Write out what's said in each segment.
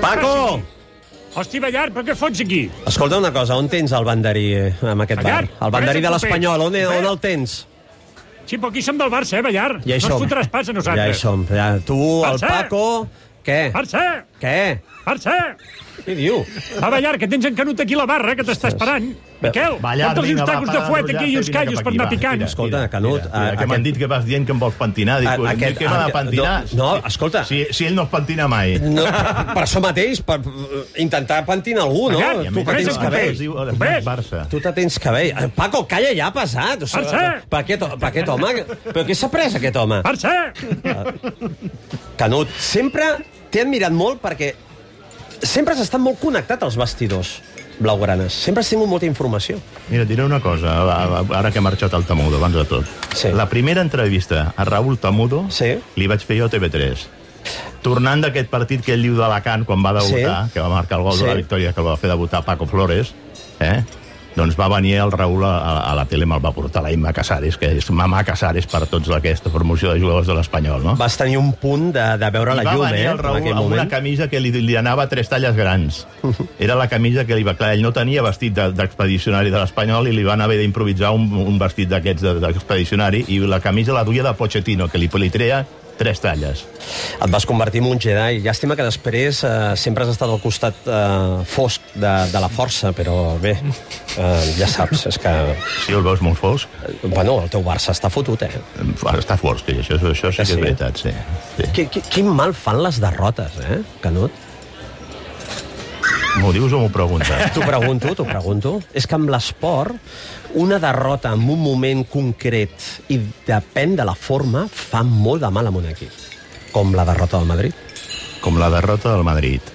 Paco! Hosti, Ballar, per què fots aquí? Escolta una cosa, on tens el banderí eh, amb aquest bar? Ballar, El banderí de res, l'Espanyol, on, res. on el tens? Sí, però aquí som del Barça, eh, Ballar? Ja hi no som. ens fotràs pas a nosaltres. Ja hi som. Ja, tu, el Barça! Paco... Què? Barça! Què? Barça! Què diu? Va, Ballar, que tens encanut aquí la barra, que t'està esperant. Miquel, Ballar, porta els vinga, va, tacos para de fuet d'enrotllar-te aquí i uns i vine callos cap per aquí, anar va, picant. tira. Escolta, Canut... Mira, mira, eh, que m'han dit que vas dient que em vols pentinar. Dic, A- aquest, aquest- que m'ha de aquest- pentinar. no, Si- escolta. Si, si ell no es pentina mai. No, per això mateix, per eh, intentar pentinar algú, no? Ballar, tu res, que tens res, cabell. Es diu Ho Hores veus? Més Barça. Tu te tens cabell. Eh, Paco, calla ja, pesat. O Barça! per, aquest, per aquest home... Però què s'ha pres, aquest home? Barça! Canut, sempre t'he admirat molt perquè sempre has estat molt connectat als vestidors blaugranes. Sempre has tingut molta informació. Mira, et diré una cosa, va, va, ara que ha marxat el Tamudo, abans de tot. Sí. La primera entrevista a Raül Tamudo Sí. li vaig fer jo a TV3. Tornant d'aquest partit que ell diu d'Alacant quan va debutar, Sí. que va marcar el gol Sí. de la victòria que va fer debutar Paco Flores, eh? doncs va venir el Raül a, a la tele, me'l va portar la Imma Casares, que és mamà Casares per tots aquesta promoció de jugadors de l'Espanyol, no? Vas tenir un punt de, de veure la I va llum, venir eh? el Raül en aquell amb una moment. camisa que li, li anava a tres talles grans. Era la camisa que li va... Clar, ell no tenia vestit de- d'expedicionari de, l'Espanyol i li van haver d'improvisar un, un vestit d'aquests de- d'expedicionari i la camisa la duia de Pochettino, que li, li treia tres talles. Et vas convertir en un Jedi. Llàstima que després eh, sempre has estat al costat eh, fosc de, de la força, però bé, eh, ja saps, és que... eh, Si el veus molt fosc, Bueno, el teu Barça està fotut, eh? em fa- està fosc, i això, això sí Ah, que Sí. és veritat, sí. sí. Qui, qui, quin mal fan les derrotes, eh, Canut? M'ho dius o m'ho preguntes? T'ho pregunto, t'ho pregunto. És que amb l'esport, una derrota en un moment concret i depèn de la forma fa molt de mal a un equip. Com la derrota del Madrid. Com la derrota del Madrid.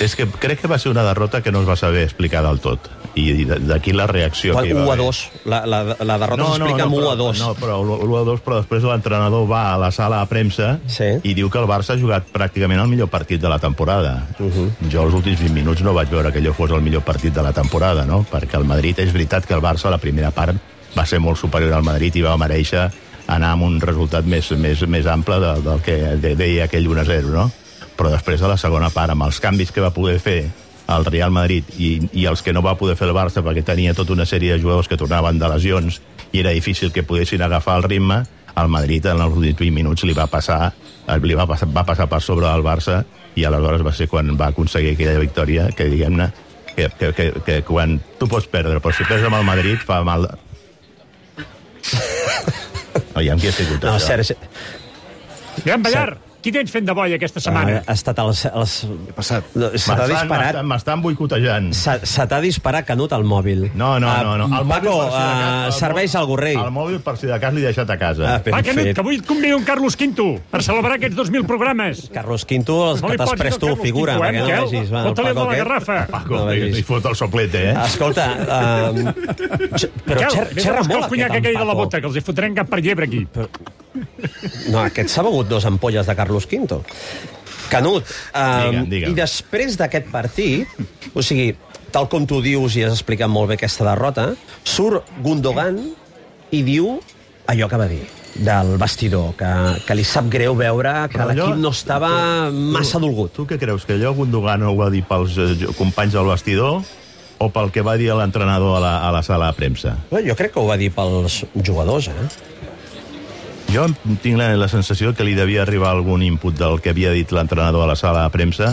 És que crec que va ser una derrota que no es va saber explicar del tot. I i d'aquí la reacció que hi va 1 a haver. 2. La, la, la derrota s'explica amb 1 però, a 2. No, però l'1 a 2, però després l'entrenador va a la sala de premsa Sí. i diu que el Barça ha jugat pràcticament el millor partit de la temporada. Uh Mhm. -huh. Jo els últims 20 minuts no vaig veure que allò fos el millor partit de la temporada, no? Perquè el Madrid, és veritat que el Barça a la primera part va ser molt superior al Madrid i va mereixer anar amb un resultat més, més, més ample del, del que de, deia aquell 1 a 0, no? Però després de la segona part, amb els canvis que va poder fer el Real Madrid i, i els que no va poder fer el Barça perquè tenia tota una sèrie de jugadors que tornaven de lesions i era difícil que poguessin agafar el ritme, el Madrid en els últims 20 minuts li va passar, eh, li va passar, va passar per sobre del Barça i aleshores va ser quan va aconseguir aquella victòria que diguem-ne que, que, que, que quan tu pots perdre però si perds amb el Madrid fa mal Aviam qui ha sigut No, això. Sergi, Gran Ballar, qui tens fent de boia aquesta setmana? ha, ha estat els... els... passat? no, Se t'ha M'estan- disparat... m'estan- M'estan boicotejant. Se, se t'ha disparat Canut al mòbil. No, no, no. no. El Ah, mòbil, Paco, per si de cas, uh, el serveis mòbil- al gorrell. El mòbil, per si de cas, l'he deixat a casa. Ah, ben Va, Canut, fet. que avui et convido un Carlos Quinto per celebrar aquests 2.000 programes. Carlos Quinto, els No que li t'has posis pres el tu, Carlos figura, Quinto, eh, perquè no Miquel? vegis. Va, el Fota-li el Paco de la aquest. garrafa. Paco, No vegis. Ah. no fot el soplete, eh? Escolta, uh, però Miquel, xer, vés a buscar xerra molt el conyac en aquell de la Paco. bota, que els hi fotrem cap per llebre aquí. No, aquest s'ha begut dos ampolles de Carlos Quinto. Canut, um, Digue'm, digue'm. i després d'aquest partit, o sigui, tal com tu dius i has explicat molt bé aquesta derrota, surt Gundogan i diu allò que va dir del vestidor, que, que li sap greu veure que Però allò- l'equip no estava massa dolgut. Tu què creus, que allò Gundogan ho va dir pels eh, jo- companys del vestidor o pel que va dir l'entrenador a, la, a la sala de premsa? Bé, Jo crec que ho va dir pels jugadors, eh? Jo em- tinc la, la sensació que li devia arribar algun input del que havia dit l'entrenador a la sala de premsa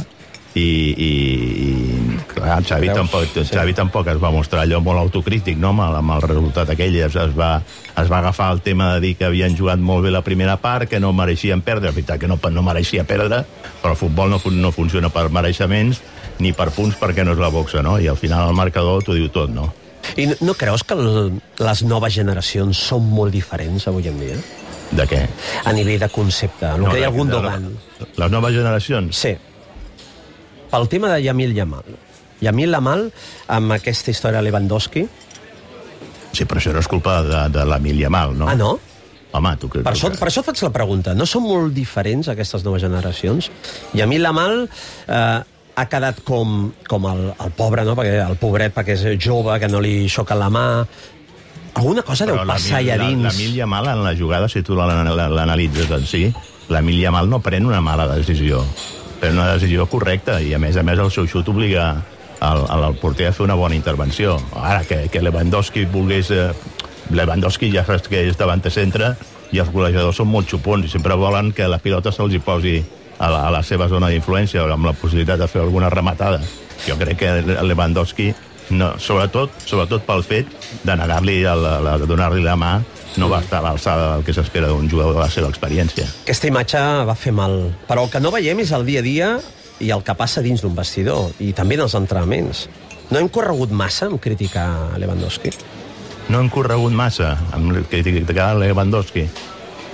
i, i, i clar, Xavi, Veus? tampoc, Xavi tampoc es va mostrar allò molt autocrític no? amb, el, amb el resultat aquell es, es, va, es va agafar el tema de dir que havien jugat molt bé la primera part, que no mereixien perdre, és veritat que no, no mereixia perdre però el futbol no, fun- no funciona per mereixements ni per punts perquè no és la boxa no? i al final el marcador t'ho diu tot no? I no, no creus que el, les noves generacions són molt diferents avui en dia? de què? A nivell de concepte, el No, que deia de- de- Gundogan. Les noves generacions? Sí. Pel tema de Yamil Yamal. Yamil Yamal, amb aquesta història de Lewandowski... Sí, però això no és culpa de, de l'Emil Yamal, no? Ah, no? Home, tu creus Per això, que... per això et faig la pregunta. No són molt diferents, aquestes noves generacions? Yamil Yamal eh, ha quedat com, com el, el pobre, no? perquè el pobret, perquè és jove, que no li xoca la mà... Alguna cosa deu passar allà dins. L'Emil Yamal doncs en la jugada, si tu l'ana- l'analitzes en si, l'Emil Yamal no pren una mala decisió. però una decisió correcta i a més a més el seu xut obliga al, al porter a fer una bona intervenció ara que, que Lewandowski volgués eh, Lewandowski ja saps que és davant de centre i els golejadors són molt xupons i sempre volen que la pilota se'ls hi posi a la, a la seva zona d'influència o amb la possibilitat de fer alguna rematada jo crec que Lewandowski no, sobretot, sobretot pel fet de negar-li, el- la- de donar-li la mà no va estar a l'alçada del que s'espera d'un jugador de la seva experiència Aquesta imatge va fer mal, però el que no veiem és el dia a dia i el que passa dins d'un vestidor, i també en els entrenaments. No hem corregut massa en criticar Lewandowski? no hem corregut massa amb el que criticava Lewandowski.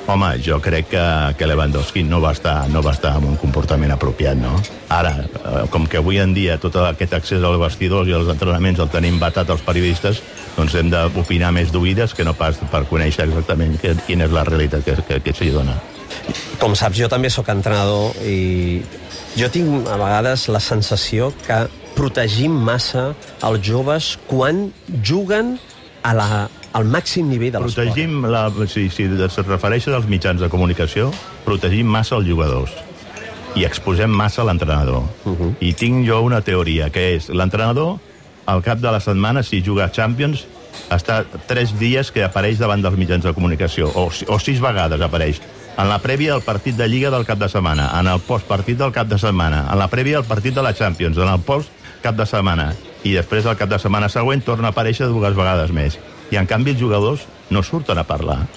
Home, jo crec que, que Lewandowski no va, estar, no va estar amb un comportament apropiat, no? Ara, eh, com que avui en dia tot aquest accés als vestidors i als entrenaments el tenim batat els periodistes, doncs hem d'opinar més d'oïdes que no pas per conèixer exactament que, quina és la realitat que, que, que s'hi dona. Com saps, jo també sóc entrenador i jo tinc a vegades la sensació que protegim massa els joves quan juguen a la, al màxim nivell de l'esport. Protegim, la, si, si es refereixes als mitjans de comunicació, protegim massa els jugadors i exposem massa l'entrenador. Uh -huh. I tinc jo una teoria, que és l'entrenador, al cap de la setmana, si juga a Champions, està tres dies que apareix davant dels mitjans de comunicació, o, si- o sis vegades apareix. En la prèvia del partit de Lliga del cap de setmana, en el postpartit del cap de setmana, en la prèvia del partit de la Champions, en el post cap de setmana, i després del cap de setmana següent torna a aparèixer dues vegades més. I en canvi els jugadors no surten a parlar,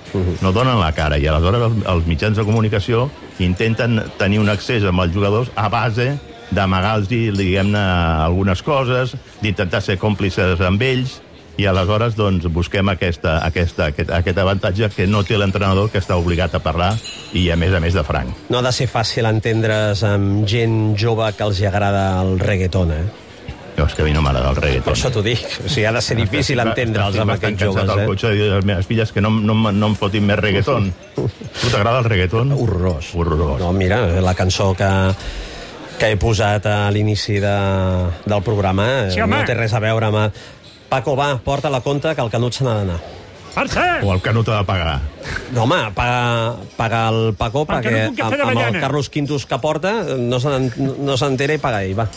no donen la cara, i aleshores els, els mitjans de comunicació intenten tenir un accés amb els jugadors a base d'amagar-los, diguem-ne, algunes coses, d'intentar ser còmplices amb ells, i aleshores doncs, busquem aquesta, aquesta, aquest, aquest avantatge que no té l'entrenador, que està obligat a parlar, i a més a més de franc. No ha de ser fàcil entendre's amb gent jove que els hi agrada el reggaeton, eh? Llavors que a mi no m'agrada el reggaeton. Per això t'ho dic. O sigui, ha de ser difícil entendre'ls amb Estic aquests bastant joves, cansat al eh? cotxe i dir a les meves filles que no, no, em- no em fotin més reggaeton. tu t'agrada el reggaeton? Horrorós. Horrorós. No, mira, la cançó que que he posat a l'inici de, del programa eh, Sí, home. no té res a veure amb... Paco, va, porta la compte que el Canut se n'ha d'anar. Marxa! O el que no t'ha de pagar. No, home, paga, paga el Paco El perquè Canut, un cafè amb, amb el d'avellana. Carlos Quintus que porta eh, no se n'en- no s'entera i paga ell, va.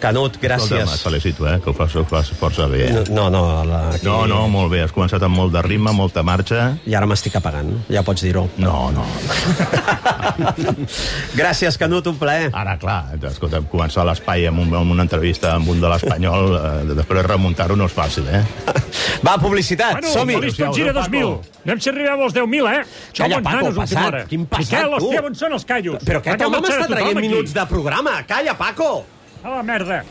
Canut, Escolta'm, et gràcies. felicito, eh, que ho fas, ho fas força bé. eh? No, no, la, aquí, No, no, molt bé. Has començat amb molt de ritme, molta marxa. I ara m'estic apagant, ja pots dir-ho. No, no. Gràcies, Canut, un plaer. Ara, clar, escolta'm, començar l'espai amb, un, amb una entrevista amb un de l'Espanyol, eh, després remuntar-ho no és fàcil, eh? Va, publicitat, Bueno, som-hi! feliç tot gira Adéu, Paco. 2000. Anem si arribem als 10.000, eh? Som Calla, uns Paco, nanos, passat. última hora. Quin passat, Miquel, tu? hòstia, on són els callos? Però aquest Acaba home marxant m'està tothom traient aquí. minuts de programa. Calla, Paco! A la merda.